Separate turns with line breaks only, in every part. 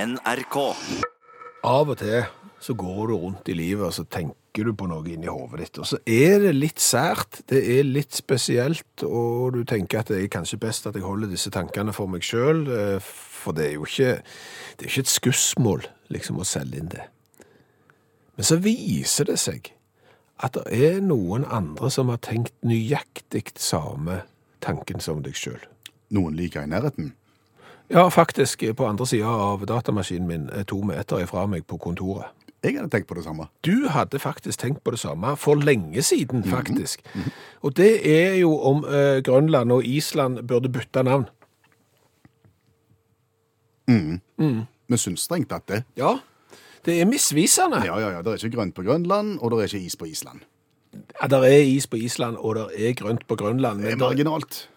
NRK.
Av og til så går du rundt i livet og så tenker du på noe inni hodet ditt. Og så er det litt sært, det er litt spesielt, og du tenker at det er kanskje best at jeg holder disse tankene for meg sjøl, for det er jo ikke, det er ikke et skussmål liksom å selge inn det. Men så viser det seg at det er noen andre som har tenkt nøyaktig samme tanken som deg sjøl.
Noen liker i nærheten.
Ja, faktisk, på andre sida av datamaskinen min, eh, to meter ifra meg på kontoret.
Jeg hadde tenkt på det samme.
Du hadde faktisk tenkt på det samme for lenge siden,
Mhm.
faktisk. Og det er jo om eh, Grønland og Island burde bytte navn.
Vi syns strengt at det.
Ja, det er misvisende.
Ja, ja, ja, Det er ikke grønt på Grønland, og det er ikke is på Island.
Ja, der er is på Island, og der er grønt på Grønland.
Det er
Men der,
marginalt.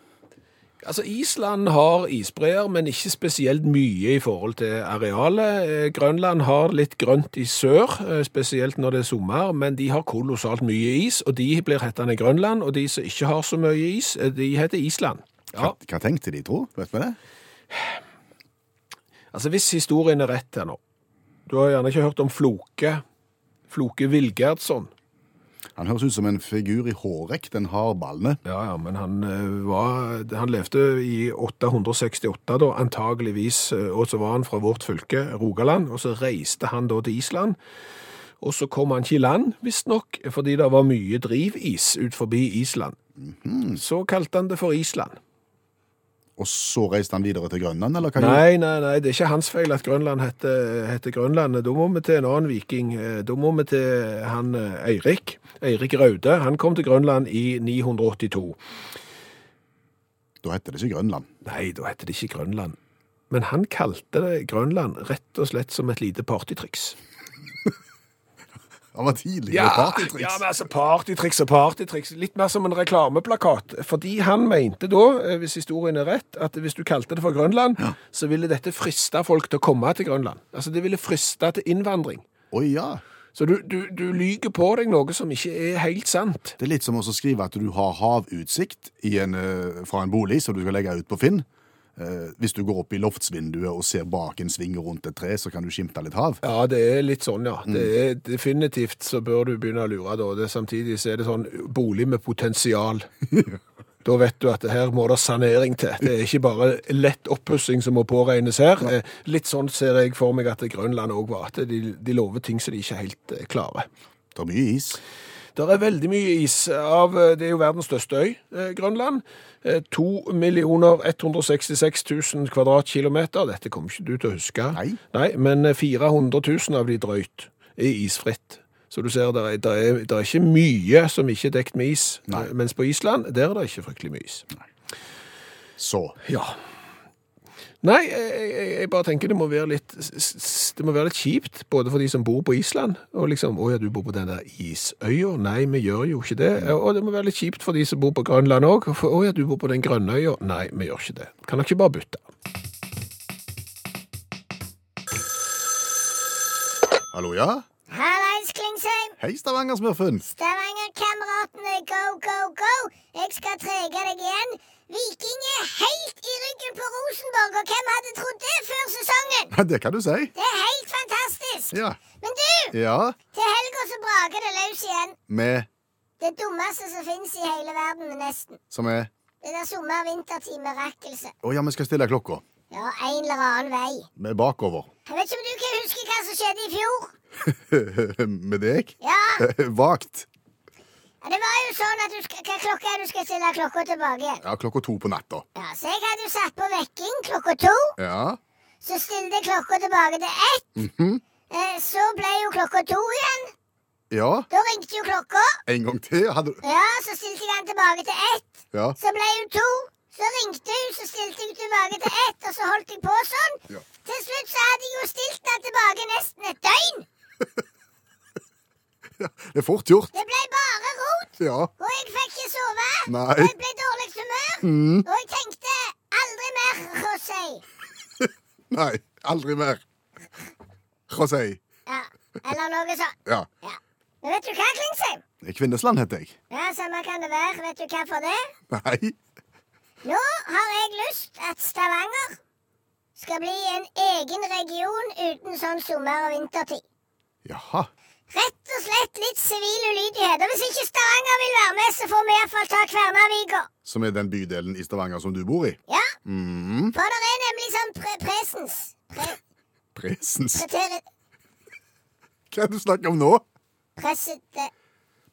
altså, Island har isbreer, men ikke spesielt mye i forhold til arealet. Eh, Grønland har litt grønt i sør, eh, spesielt når det er sommer, men de har kolossalt mye is, og de blir hettende Grønland, og de som ikke har så mye is, eh, de heter Island. Ja.
Hva, hva tenkte de, tro? Vet vi det?
Altså hvis historien er rett her nå, du har gjerne ikke hørt om Floke, Floke Vilgerdsson.
Han høres ut som en figur i Hårek, den har ballene.
Ja, ja, men han, eh, var, han levde i 868 da, antageligvis, eh, og så var han fra vårt fylke, Rogaland, og så reiste han da til Island, og så kom han ikke i land, visstnok, fordi det var mye drivis ut forbi Island. Så kalte han det for Island.
Og så reiste han videre til Grønland, eller hva? gjorde-
Nei, nei, nei, det er ikke hans feil at Grønland heter, heter Grønland. Da må vi til en annen viking. Eh, Da må vi til han eh, Eirik. Eirik Raude. Han kom til Grønland i 982.
Da heter det ikke Grønland.
Nei, da heter det ikke Grønland. Men han kalte det Grønland rett og slett som et lite partytriks.
Han var tidlig med partytriks.
ja, men altså partytriks og partytriks. Litt mer som en reklameplakat. Fordi han mente da, eh, hvis historien er rett, at hvis du kalte det for Grønland, så ville dette friste folk til å komme til Grønland. Altså, det ville friste til innvandring.
Å ja.
Så du, du, du lyger på deg noe som ikke er helt sant.
Det er litt som å skrive at du har havutsikt i en, eh, fra en bolig som du skal legge ut på Finn. Eh, Hvis du går opp i loftsvinduet og ser bak en sving og rundt et tre, så kan du skimte litt hav.
Ja, det er litt sånn, ja. Det er, definitivt så bør du begynne å lure da. Det, samtidig så er det sånn bolig med potensial. Da vet du at det her må det sanering til. Det er ikke bare lett oppussing som må påregnes her. Eh, Litt sånn ser jeg for meg at Grønland òg var. At de, de lover ting som de ikke helt eh, klarer.
Det er mye is.
Det er veldig mye is. av, eh, Det er jo verdens største øy, eh, Grønland. Eh, 2 166 000 kvadratkilometer. Dette kommer ikke du til å huske.
Nei.
men eh, 400 000 av de drøyt er isfritt. Så du ser, det er, der er, der er ikke mye som ikke er dekt med is. Eh, Mens på Island, der er det ikke fryktelig mye is.
Så
Ja. Nei, jeg, jeg, jeg bare tenker det må, være litt, s- s- det må være litt kjipt, både for de som bor på Island, og liksom, å ja, du bor på den der isøya? Nei, vi gjør jo ikke det. Og det må være litt kjipt for de som bor på Grønland òg. Å ja, du bor på den grønne øya? Nei, vi gjør ikke det. Kan dere ikke bare bytte?
Hallo, ja?
Hallais, Klingsheim!
Hei, Stavanger-smurfen.
Stavanger-kameratene, go, go, go! Jeg skal trege deg igjen. Viking er helt i ryggen på Rosenborg, og hvem hadde trodd det før sesongen?
Ja, Det kan du si.
Det er helt fantastisk!
Ja.
Men du,
Ja,
til helga så braker det løs igjen.
med
Det dummeste som fins i hele verden, nesten.
som er
Det der sommer-vintertime-rakkelse.
Å ja, vi skal stille klokka.
Ja, en eller annen vei.
Med bakover.
Jeg vet ikke om du kan huske hva som skjedde i fjor?
med deg?
Ja,
Vagt.
Ja, det var jo sånn at du skal, hva klokka er det du skal stille klokka tilbake igjen?
Ja, klokka to på natta.
Ja, så jeg hadde jo satt på vekking klokka to.
Ja.
Så stilte jeg klokka tilbake til ett.
Mhm.
eh, så ble jo klokka to igjen.
Ja.
Da ringte jo klokka.
En gang til hadde du
Ja, så stilte jeg den tilbake til ett.
Ja.
Så ble hun to. Så ringte hun, så stilte jeg tilbake til ett, og så holdt jeg på sånn.
Ja.
Til slutt så hadde jeg jo stilt den tilbake nesten et døgn.
Det er fort gjort.
Det ble bare rot.
Ja.
Og jeg fikk ikke sove.
Nei.
Og jeg ble i dårlig humør.
Mm,
Og jeg tenkte aldri mer, José.
Nei, aldri mer. José.
Ja, eller noe sånt.
Ja.
Ja. Men vet du hva, Klingsheim?
Kvinnesland heter jeg.
Ja, samme kan det være. Vet du hva for det?
Nei.
Nå har jeg lyst at Stavanger skal bli en egen region uten sånn sommer- og vintertid.
Jaha.
Rett og slett litt sivil ulydighet. Og hvis ikke Stavanger vil være med, så får vi iallfall ta Kværnervika.
Som er den bydelen i Stavanger som du bor i?
Ja,
Mhm.
for det er nemlig sånn pre presens pre
Presens.
pretere-
Hva er det du snakker om nå?
preside-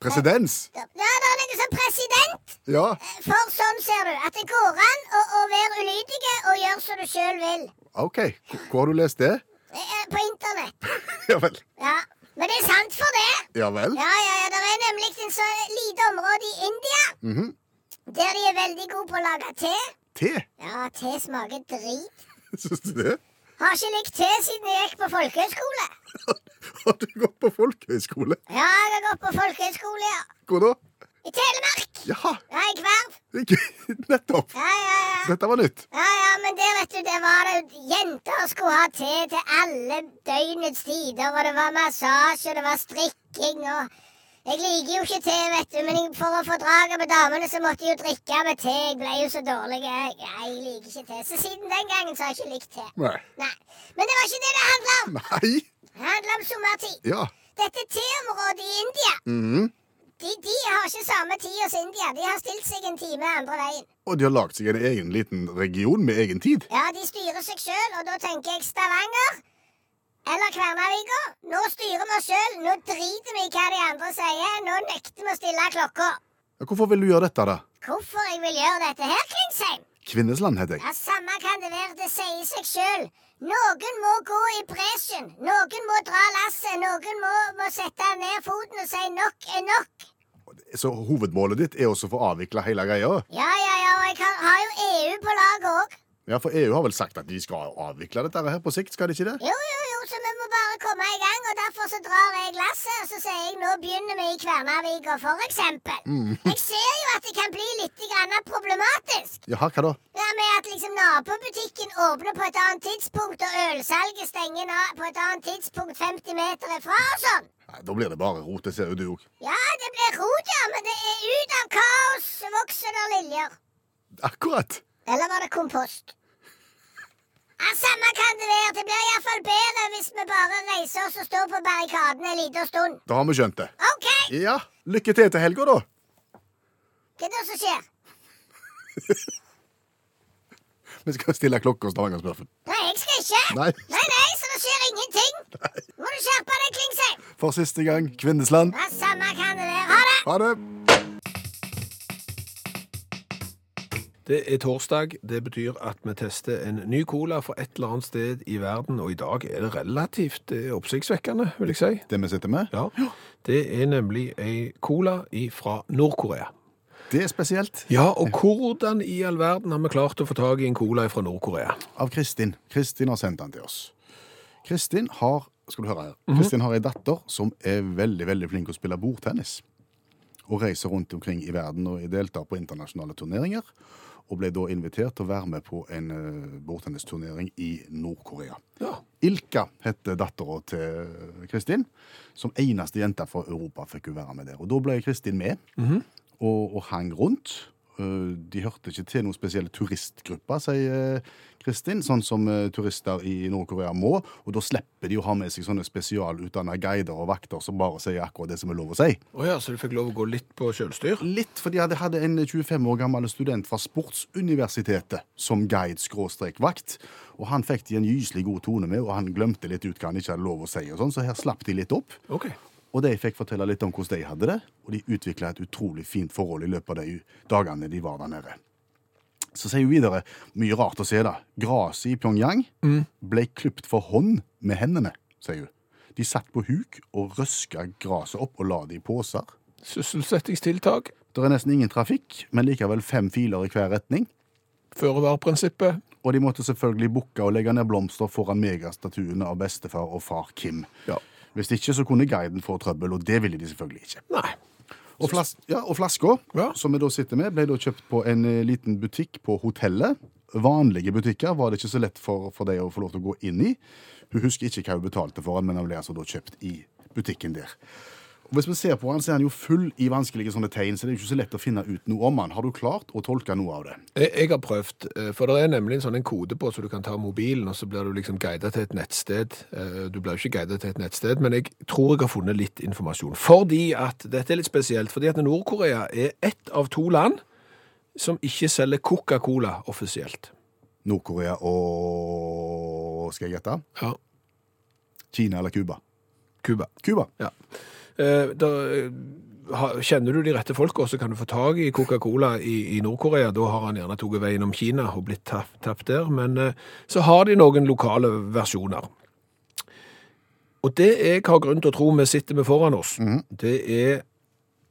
Presedens?
Ja, det er noe sånn president.
Ja.
For sånn ser du, at det går an å, å være ulydige og gjøre som du sjøl vil.
OK. Hvor- Hvor har du lest det?
Eh, På internett.
Ja vel.
Ja. Men det er sant for det.
Ja vel?
Ja, ja, ja, det er nemlig en så lite område i India
Mhm.
der de er veldig gode på å lage te.
Te?
Ja, te smaker drit.
Syns du det?
Har ikke likt te siden jeg gikk på folkehøyskole.
Har du gått på folkehøyskole?
Ja, jeg har gått på folkehøyskole, ja.
Hvor da?
I Telemark.
Jaha.
Ja, i Kverv.
Ikke- Nettopp.
Ja, ja, ja.
Dette var nytt.
Ja, ja, men der, vet du, der var det jo Jenter skulle ha te til alle døgnets tider, og det var massasje, og det var strikking, og Jeg liker jo ikke te, vet du, men jeg- for å få draget med damene, så måtte jeg jo drikke med te. Jeg ble jo så dårlig. Jeg, jeg liker ikke te. Så siden den gangen så har jeg ikke likt te.
Nei.
Nei. Men det var ikke det det handla om.
Nei?
Det handla om sommertid.
Ja.
Dette teområdet i India
Mhm.
de, de har ikke samme tid hos India. De har stilt seg en time andre veien.
Og de har lagd seg en egen liten region med egen tid.
Ja, De styrer seg sjøl, og da tenker jeg Stavanger eller Kværnervika. Nå styrer vi oss sjøl. Nå driter vi i hva de andre sier. Nå nekter vi å stille klokka.
Ja, Hvorfor vil du gjøre dette, da?
Hvorfor jeg vil gjøre dette her, Klingsheim?
Kvinnesland, heter jeg.
Ja, Samme kan det være. Det sier seg sjøl. Noen må gå i bresjen. Noen må dra lasset. Noen må, må sette ned foten og si nok er nok.
Så hovedmålet ditt er også å få avvikla hele greia?
Ja, ja, ja, og jeg har, har jo EU på laget òg.
Ja, for EU har vel sagt at de skal avvikle dette her på sikt, skal de ikke det?
Jo, jo, jo, så vi må bare komme i gang, og derfor så drar jeg lasset, og så sier jeg nå begynner vi i Kværnervika, for eksempel. Jeg ser jo at det kan bli litt grann problematisk.
Jaha, hva da?
Ja, med at liksom nabobutikken åpner på et annet tidspunkt, og ølsalget stenger na- på et annet tidspunkt 50 meter ifra og sånn.
Nei, da blir det bare rot, det ser jo du òg.
Ja, det blir rot, ja, men det er ut av kaos vokser der liljer.
Akkurat.
Eller var det kompost? Ja, Samme kan det være. Det blir iallfall bedre hvis vi bare reiser oss og står på barrikadene en liten stund.
Da har vi skjønt det.
OK,
Ja, lykke til til helga, da.
hva er det som skjer?
Vi skal stille klokka Stavanger-smurfen.
Nei, jeg skal ikke.
Nei.
nei, nei, så det skjer ingenting. Må du skjerpe deg, Klingsheim.
For siste gang, Kvinnesland.
Ja, Samme kan det være. Ha det.
Ha det.
Det er torsdag. Det betyr at vi tester en ny cola fra et eller annet sted i verden, og i dag er det relativt eh, oppsiktsvekkende, vil jeg si.
Det vi sitter med,
Ja. Det er nemlig ei cola fra Nord-Korea.
det er spesielt
Ja, og hvordan i all verden har vi klart å få tak i en cola fra Nord-Korea?
av Kristin. Kristin har sendt den til oss. Kristin har skal du høre her, Kristin har ei datter som er veldig veldig flink til å spille bordtennis. Og reiser rundt omkring i verden og deltar på internasjonale turneringer. Og ble da invitert til å være med på en eh, bordtennisturnering i Nord-Korea.
Ja.
Ilka heter dattera til Kristin. Som eneste jente fra Europa fikk hun være med der. Og da ble Kristin med, og, og hang rundt. Eh, De hørte ikke til noen spesielle turistgrupper, sier Kristin, sånn som eh, turister i Nord-Korea må. Og da slipper de å ha med seg sånne spesialutdanna guider og vakter som bare sier akkurat det som er lov å si.
Å ja, så du fikk lov å gå litt på kjølstyr?
Litt fordi jeg hadde en 25 år gammel student fra Sportsuniversitetet som guide-vakt. Og han fikk de en gyselig god tone med, og han glemte litt ut hva han ikke hadde lov å si. og sånn, Så her slapp de litt opp.
OK.
Og de fikk fortelle litt om hvordan de hadde det, og de utvikla et utrolig fint forhold i løpet av de dagene de var der nede. Så sier hun videre mye rart å se, da. Gresset i Pyongyang ble klipt for hånd med hendene, sier hun. De satt på huk og røska gresset opp og la det i poser.
Sysselsettingstiltak,
Det er nesten ingen trafikk, men likevel fem filer i hver retning.
føre-var-prinsippet.
Og de måtte selvfølgelig bukke og legge ned blomster foran megastatuene av bestefar og far Kim.
Ja.
Hvis ikke så kunne guiden få trøbbel, og det ville de selvfølgelig ikke.
Nei.
Og, flas ja, og flasker,
Ja.
som vi da sitter med, ble da kjøpt på en eh, liten butikk på hotellet. Vanlige butikker var det ikke så lett for, for deg å få lov til å gå inn i. Hun husker ikke hva hun betalte for den, men den ble altså da kjøpt i butikken der. Og Hvis vi ser på han, så er han jo full i vanskelige sånne tegn, så det er jo ikke så lett å finne ut noe om han. Har du klart å tolke noe av det?
Jeg, jeg har prøvd, eh, for det er nemlig en sånn en kode på, så du kan ta mobilen, og så blir du liksom guidet til et nettsted. Eh, Du blir jo ikke guidet til et nettsted, men jeg tror jeg har funnet litt informasjon. Fordi at, dette er litt spesielt, fordi at Nord-Korea er ett av to land som ikke selger Coca-Cola offisielt.
Nord-Korea og Skal jeg gjette?
Ja.
Kina eller Cuba?
Kuba.
Cuba.
Ja. Eh, Da, eh, ha- kjenner du de rette folka, så kan du få tak i Coca-Cola i, i Nord-Korea. Da har han gjerne tatt veien om Kina og blitt tapp, tapt der. Men eh, så har de noen lokale versjoner. Og det jeg har grunn til å tro vi sitter med foran oss, det er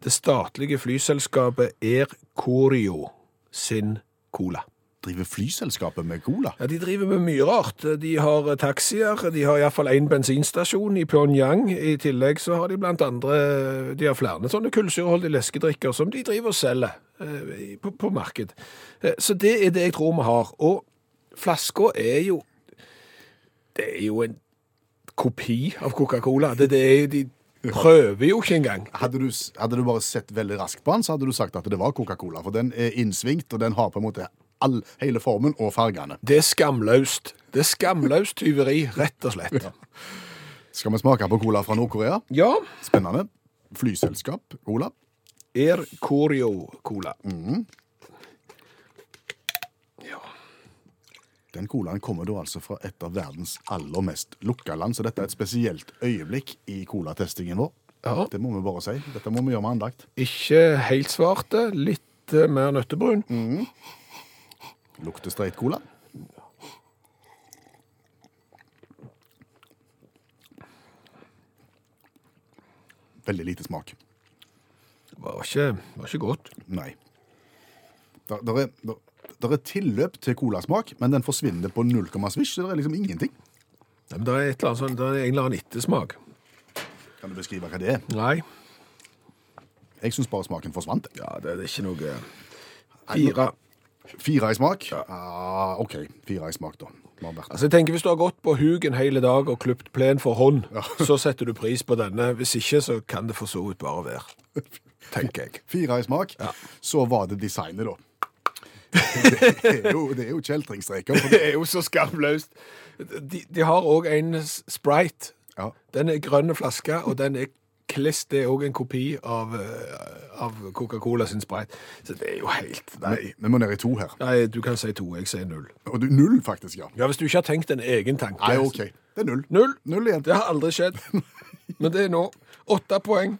det statlige flyselskapet Air Koryo sin cola.
Driver flyselskapet med cola?
Ja, De driver med mye rart. De har eh, taxier, de har iallfall én bensinstasjon i Pyongyang. I tillegg så har de blant andre De har flere sånne kullsyreholdige leskedrikker som de driver og selger eh, i- på, på marked. Eh, Så det er det jeg tror vi har. Og flaska er jo Det er jo en kopi av Coca-Cola. Det, det er, de prøver jo ikke engang.
Hadde du, s- hadde du bare sett veldig raskt på den, så hadde du sagt at det var Coca-Cola. For den er innsvingt, og den har på en måte all, hele formen og fargene.
Det er skamløst. Det er skamløst tyveri, rett og slett.
Skal vi smake på cola fra Nord-Korea?
Ja,
Spennende. Flyselskap, cola.
Air Corio Cola. Ja.
Den colaen kommer da altså fra et av verdens aller mest lukka land, så dette er et spesielt øyeblikk i colatestingen vår.
Ja.
Det må vi bare si. Dette må vi gjøre med andakt.
Ikke helt svarte, litt eh, mer nøttebrun.
Lukter streit cola. Veldig lite smak.
Var, ikke, var ikke godt.
Nei. Der, der, er, der, der er tilløp til colasmak, men den forsvinner på null komma svisj. så Det er liksom ingenting.
Nei, men det er, et eller annet, sånn- det er en eller annen ettersmak.
Kan du beskrive hva det er?
Nei,
Jeg syns bare smaken forsvant.
ja, det, det er ikke noe eh, fire.
Fire i smak? Ah, OK. Fire i smak, da. Vi har vært-
Altså, jeg tenker Hvis du har gått på Hugen hele dag og klipt plen for hånd, så setter du pris på denne. Hvis ikke, så kan det for så vidt bare være. Tenker jeg.
Fire i smak. Så var det designet, da. Det er jo, det er jo kjeltringstreker. for det-
Det er jo så skamløst. De, de har òg en s- Sprite.
Ja.
Den er grønne flaske, og den er kliss. Det er òg en kopi av, eh, av Coca-Cola sin Sprite. Så det er jo helt Nei.
Nei, vi må ned i to her.
Nei, du kan si to. Jeg sier null.
Og du, null, faktisk, ja.
Ja, Hvis du ikke har tenkt en egen tanke.
Nei, OK. Det er null.
Null.
Null igjen.
Det har aldri skjedd. Men det er nå. Åtte poeng.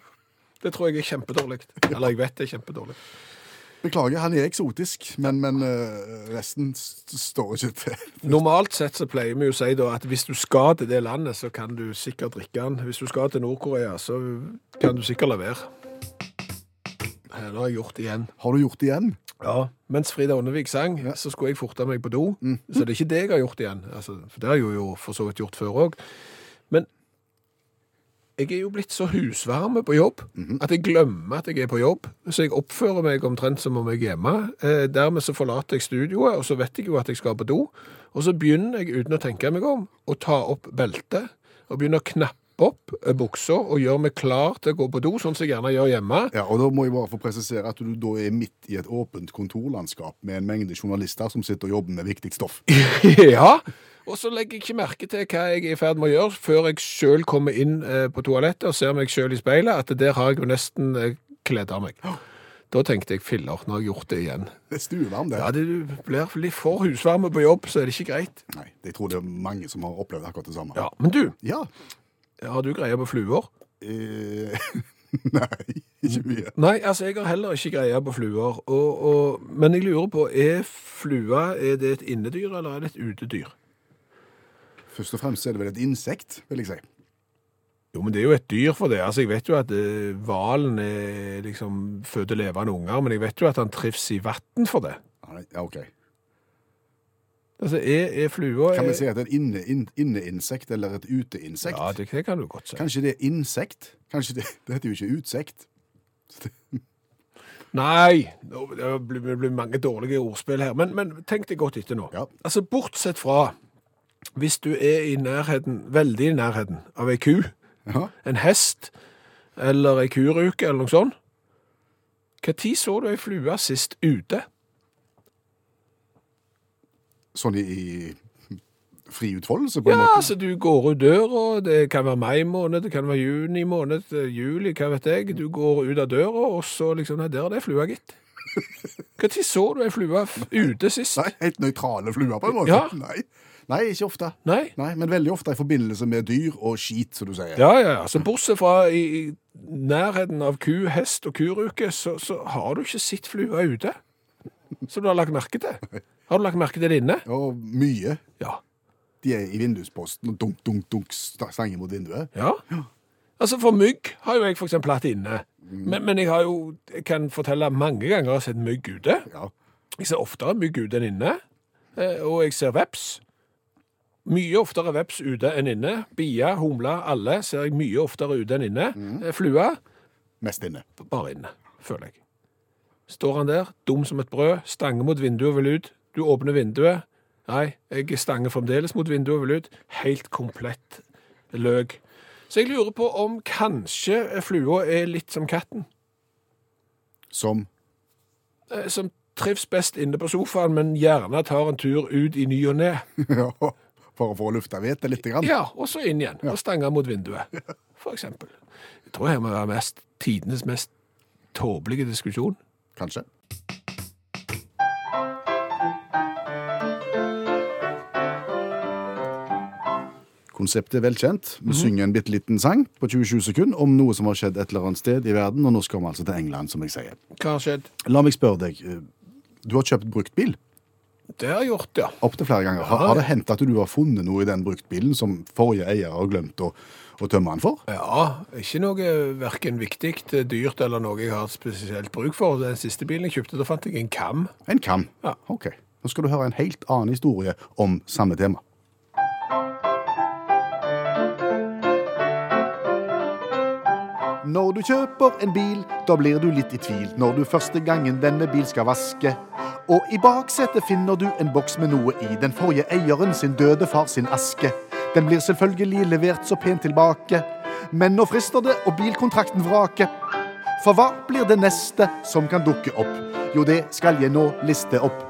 Det tror jeg er kjempedårlig. Eller jeg vet det er kjempedårlig.
Beklager, han er eksotisk, men, men eh, resten s- står ikke til.
Normalt sett så pleier vi jo å si da at hvis du skal til det landet, så kan du sikkert drikke den. Hvis du skal til Nord-Korea, så kan du sikkert la være. Her har jeg gjort det igjen.
Har du gjort det igjen?
Ja. Mens Frida Åndevik sang, så skulle jeg forte meg på do. Så det er ikke det jeg har gjort igjen. Altså, for det har jeg jo for så vidt gjort før òg. Men jeg er jo blitt så husvarme på jobb at jeg glemmer at jeg er på jobb. Så jeg oppfører meg omtrent som om jeg er hjemme. Eh, dermed så forlater jeg studioet, og så vet jeg jo at jeg skal på do. Og så begynner jeg, uten å tenke meg om, å ta opp beltet og begynner å knappe opp eh, buksa og gjøre meg klar til å gå på do, sånn som jeg gjerne gjør hjemme.
Ja, og da må jeg bare få presisere at du da er midt i et åpent kontorlandskap med en mengde journalister som sitter og jobber med viktig stoff.
ja. Og så legger jeg ikke merke til hva jeg er i ferd med å gjøre, før jeg sjøl kommer inn eh, på toalettet og ser meg sjøl i speilet, at der har jeg jo nesten eh, kledd av meg. Da tenkte jeg filler, nå har jeg gjort det igjen.
Det er stuevarm, det.
Ja, det, du blir litt for husvarme på jobb, så er det ikke greit.
Nei, jeg tror det er mange som har opplevd akkurat det samme.
Ja, Men du,
Ja.
har du greie på fluer?
Eh, nei, ikke mye.
Nei, altså jeg har heller ikke greie på fluer. Og, og, men jeg lurer på, er flua er det et innedyr eller er det et utedyr?
Først og fremst er det vel et insekt, vil jeg si.
Jo, men det er jo et dyr for det. Altså, jeg vet jo at eh, hvalen er liksom føder levende unger, men jeg vet jo at han trives i vann for det.
Nei, Ja, ok.
Altså, er, er flua
Kan
er-
vi si at det er et inne- inn- inneinsekt eller et uteinsekt?
Ja, det, det kan du godt si.
Kanskje det er insekt? Kanskje det, det heter jo ikke utsekt.
Nei! nå- Det blir, det blir mange dårlige ordspill her, men, men tenk deg godt etter nå.
Ja.
Altså, bortsett fra hvis du er i nærheten, veldig i nærheten, av ei ku,
Ja.
en hest eller ei kuruke eller noe sånt. Når så du ei flue sist ute?
Sånn i, i fri utfoldelse, på en
Ja,
måte?
altså du går ut døra, det kan være mai måned, det kan være juni måned, det er juli, hva vet jeg. Du går ut av døra, og så liksom Nei, der er det flua, gitt. Når så du ei flue f- ute sist?
Nei, Helt nøytrale fluer, på en måte?
Ja.
Nei. Nei, ikke ofte.
Nei?
Nei, Men veldig ofte i forbindelse med dyr og skit, som du sier.
Ja, ja, ja. Så bortsett fra i i nærheten av ku, hest og kuruke, så, så har du ikke sett flua ute. Så du har lagt merke til. Har du lagt merke til det inne?
Og mye.
Ja.
De er i vindusposten og dunk, dunk, dunk, sta- stanger mot vinduet.
Ja. Altså, for mygg har jo jeg for eksempel hatt inne. Men, men jeg har jo, jeg kan fortelle mange ganger jeg har sett mygg ute.
Ja.
Jeg ser oftere mygg ute enn inne. eh, Og jeg ser veps. Mye oftere veps ute enn inne. Bier, humler, alle ser jeg mye oftere ute enn inne. Eh, Flua,
Mest inne.
bare inne, føler jeg. Står han der, dum som et brød, stanger mot vinduet og vil ut. Du åpner vinduet. Nei, jeg stanger fremdeles mot vinduet og vil ut. Helt komplett løk. Så jeg lurer på om kanskje flua er litt som katten,
Som
eh, som trivs best inne på sofaen, men gjerne tar en tur ut i ny og ne.
Ja, For å få lufta hvete litt. Grann.
Ja, og så inn igjen, og stanger mot vinduet, for eksempel. Jeg tror jeg må være mest, tidenes mest tåpelige diskusjon.
Kanskje. Konseptet er velkjent. Vi synger en bitte liten sang på 27 sekunder om noe som har skjedd et eller annet sted i verden, og nå skal vi altså til England, som jeg sier.
Hva har skjedd?
La meg spørre deg. eh, Du har kjøpt bruktbil
Det har jeg gjort, ja.
opptil flere ganger. Har, har det hendt at du har funnet noe i den bruktbilen som forrige eier har glemt å, å tømme den for?
Ja, ikke noe verken viktig, dyrt eller noe jeg har spesielt bruk for. Den siste bilen jeg kjøpte, da fant jeg en kam.
En kam.
Ja.
Ok. Nå skal du høre en helt annen historie om samme tema. Når du kjøper en bil, da blir du litt i tvil når du første gangen denne bil skal vaske. Og i baksetet finner du en boks med noe i den forrige eieren sin døde far sin aske. Den blir selvfølgelig levert så pent tilbake, men nå frister det, og bilkontrakten vraker. For hva blir det neste som kan dukke opp? Jo, det skal jeg nå liste opp.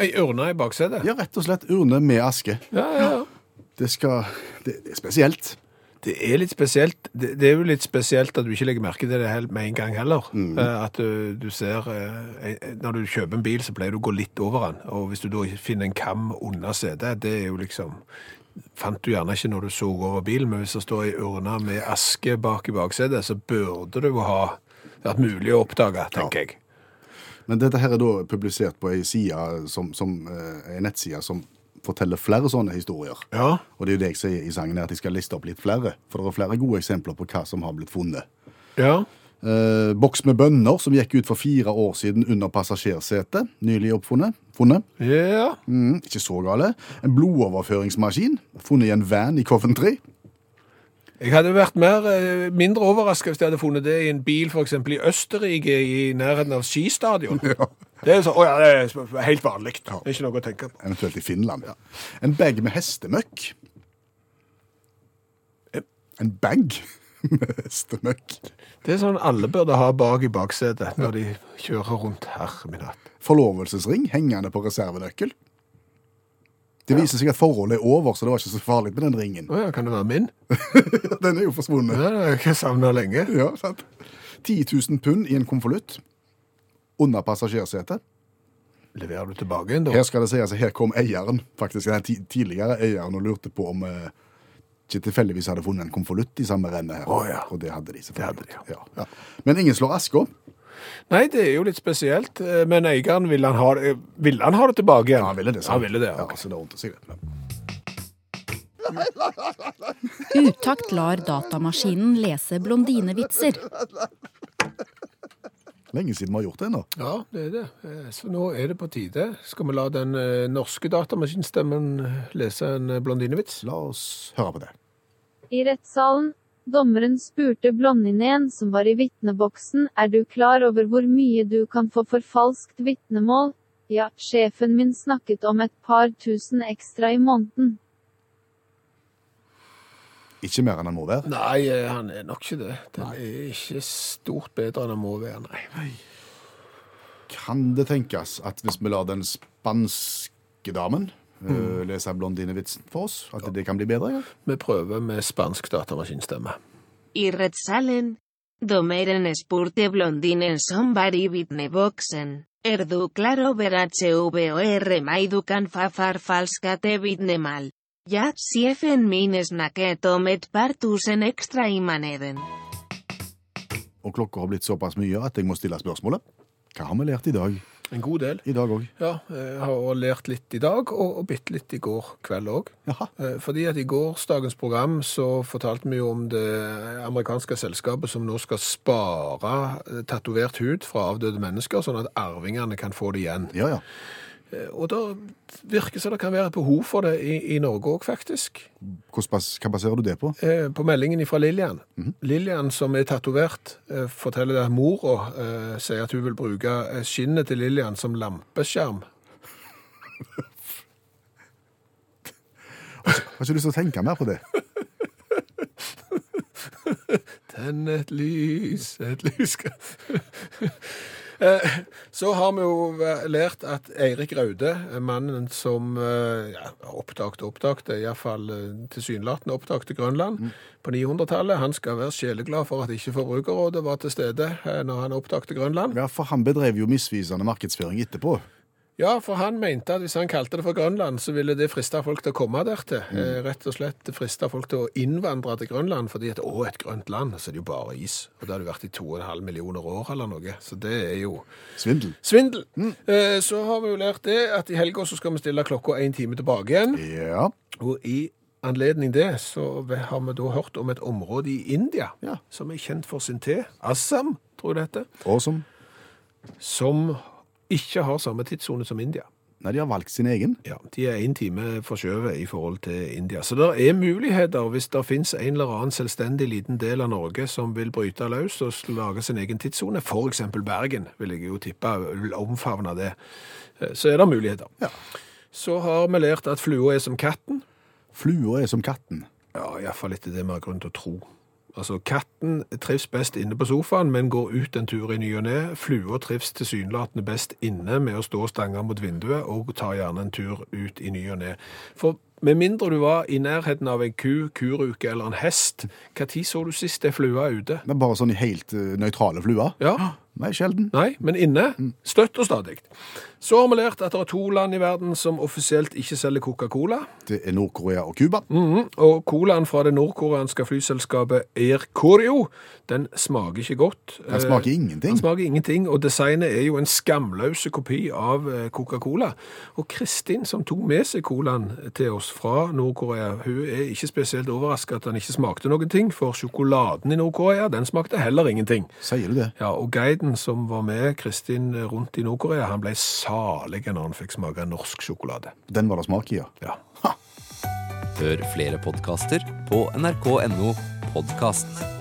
Ei urne i baksetet.
Ja, rett og slett urne med aske.
Ja, ja, ja.
Det skal Det, det er spesielt.
Det er litt spesielt. Det, det er jo litt spesielt at du ikke legger merke til det hel- med en gang heller. Eh, At du, du ser eh, eh, Når du kjøper en bil, så pleier du å gå litt over den. Og hvis du da finner en kam under setet, det er jo liksom Fant du gjerne ikke når du så over bilen, men hvis det står ei urne med aske bak i baksetet, så burde det jo ha vært mulig å oppdage, tenker jeg.
Men dette her er da publisert på ei side som, som eh, en nettside som forteller flere sånne historier.
Ja.
Og det er jo det jeg sier i sangen, her, at jeg skal liste opp litt flere. For det er flere gode eksempler på hva som har blitt funnet.
Ja.
Eh, boks med bønner som gikk ut for fire år siden under passasjersetet. Nylig oppfunnet. Funnet.
Ja.
Mm, ikke så gale. En blodoverføringsmaskin funnet i en van i Coventry.
Jeg hadde vært mer, eh, mindre overraska hvis jeg hadde funnet det i en bil f.eks. i Østerrike, i nærheten av skistadion. Det er sånn, å ja, det er sp- helt vanlig. Det er ikke noe å tenke på.
Eventuelt i Finland. En bag med hestemøkk. En bag med hestemøkk.
Det er sånn alle burde ha bak i baksetet når de kjører rundt her min hatt.
Forlovelsesring hengende på reservenøkkel. Det viser seg at forholdet er over, så det var ikke så farlig med den ringen.
Å ja, kan det være min?
Den er jo
Ja,
forsvunnet.
Det har jeg ikke savna lenge.
Ja, sant? 10 000 pund i en konvolutt. Under passasjersetet.
Leverer du tilbake igjen, da?
Her skal det sies at her kom eieren, faktisk den ti- tidligere eieren, og lurte på om eh, ikke tilfeldigvis hadde funnet en konvolutt i samme renne her.
Å, ja.
Og det hadde de selvfølgelig.
Det hadde
de, ja. Ja. Men ingen slår aska opp.
Nei, det er jo litt spesielt. eh, Men eieren, ville han ha det, ville han ha det tilbake igjen?
Ja, han ville det. sant?
Han ville det,
ja,
ok.
så det ordnet seg, det.
Utakt lar datamaskinen lese blondinevitser.
Lenge siden vi har gjort det ennå.
Ja, det er det. Eh, Så nå er det på tide. Skal vi la den eh, norske datamaskinstemmen lese en eh, blondinevits?
La oss høre på det.
I rettssalen, dommeren spurte Blondinen som var i vitneboksen, er du klar over hvor mye du kan få for falskt vitnemål? Ja, sjefen min snakket om et par tusen ekstra i måneden.
Ikke mer enn han må være.
Nei, eh, han er nok ikke det. Den er ikke stort bedre enn den må være, nei.
Kan det tenkes at hvis vi lar den spanske damen eh, lese blondinevitsen for oss, at det kan bli bedre? Ja?
Vi prøver med spansk datamaskinstemme.
I Red Salen, Domeren Spurte Blondinen Son Bari Bitne Boxen, Erdu Claro VOR Maidukan Fafar Falskate Bitne Mal. Ja, Siefen Mines Naket Omet Partusen Extra Imaneden.
Og klokka har blitt såpass mye at jeg må stille spørsmålet. Hva har vi lært i dag?
En god del.
I dag òg.
Ja, jeg har lært litt i dag, og, og bitte litt i går kveld òg. Eh,
Jaha.
Fordi at i gårsdagens program så fortalte vi jo om det amerikanske selskapet som nå skal spare eh, tatovert hud fra avdøde mennesker, sånn at arvingene kan få det igjen. Eh,
Ja, ja.
Og da virker det som det kan være et behov for det i, i Norge òg, faktisk.
Hvordan bas hva baserer du det på?
Eh, på meldingen fra Lillian. Lillian, som er tatovert, eh, forteller at mora eh, sier at hun vil bruke eh, skinnet til Lillian som lampeskjerm.
Har ikke lyst til å tenke mer på det.
Tenn et lys, et lys Eh, Så har vi jo eh, lært at Eirik Raude, eh, mannen som eh, ja, oppdagte, oppdagte, iallfall eh, tilsynelatende oppdagte Grønland på 900-tallet, han skal være sjeleglad for at ikke Forbrukerrådet var til stede eh, når han oppdagte Grønland.
Ja, For han bedrev jo misvisende markedsføring etterpå.
Ja, for han mente at hvis han kalte det for Grønland, så ville det friste folk til å komme der til. Eh, Rett og slett friste folk til å innvandre til Grønland, fordi at å, et grønt land, så er det jo bare is. Og det har det vært i 2,5 millioner år eller noe, så det er jo
Svindel.
svindel. Eh, Så har vi jo lært det at i helga så skal vi stille klokka en time tilbake igjen.
Ja.
Og i anledning det så har vi da hørt om et område i India
Ja.
som er kjent for sin te, Assam, tror jeg det heter,
Og som
som ikke har samme tidssone som India.
Nei, de har valgt sin egen.
Ja, de er en time forskjøvet i forhold til India. Så det er muligheter hvis det finnes en eller annen selvstendig liten del av Norge som vil bryte løs og lage sin egen tidssone, for eksempel Bergen, vil jeg jo tippe, vil omfavne det. Eh, Så er det muligheter. Så har vi lært at flua er som katten.
Flua er som katten.
Ja, i hvert fall litt det vi har grunn til å tro. Altså, katten trives best inne på sofaen, men går ut en tur i ny og ne. Flua trives tilsynelatende best inne med å stå og stange mot vinduet, og tar gjerne en tur ut i ny og ne. For med mindre du var i nærheten av en ku, kuruke eller en hest, hva tid så du sist ei flue ute?
Det er bare sånn helt eh, nøytrale flua.
Ja.
Nei, sjelden.
Nei, men inne. Støtt og stadig. Så har vi lært at det er to land i verden som offisielt ikke selger Coca-Cola.
Det er Nord-Korea og Cuba.
Mhm, Og colaen fra det nordkoreanske flyselskapet Air Koryo, den smaker ikke godt.
Den smaker ingenting.
Eh, Den smaker ingenting, og designet er jo en skamløs kopi av eh, Coca-Cola. Og Kristin, som tok med seg colaen til oss fra Nord-Korea, hun er ikke spesielt overrasket at den ikke smakte noen ting, for sjokoladen i Nord-Korea, den smakte heller ingenting.
Sier du det?
Ja, og guiden som var med Kristin eh, rundt i Nord-Korea, han ble salig når han fikk smake norsk sjokolade.
Den var det smak i, ja.
Ja.
Hør flere podkaster på nrk.no podkast.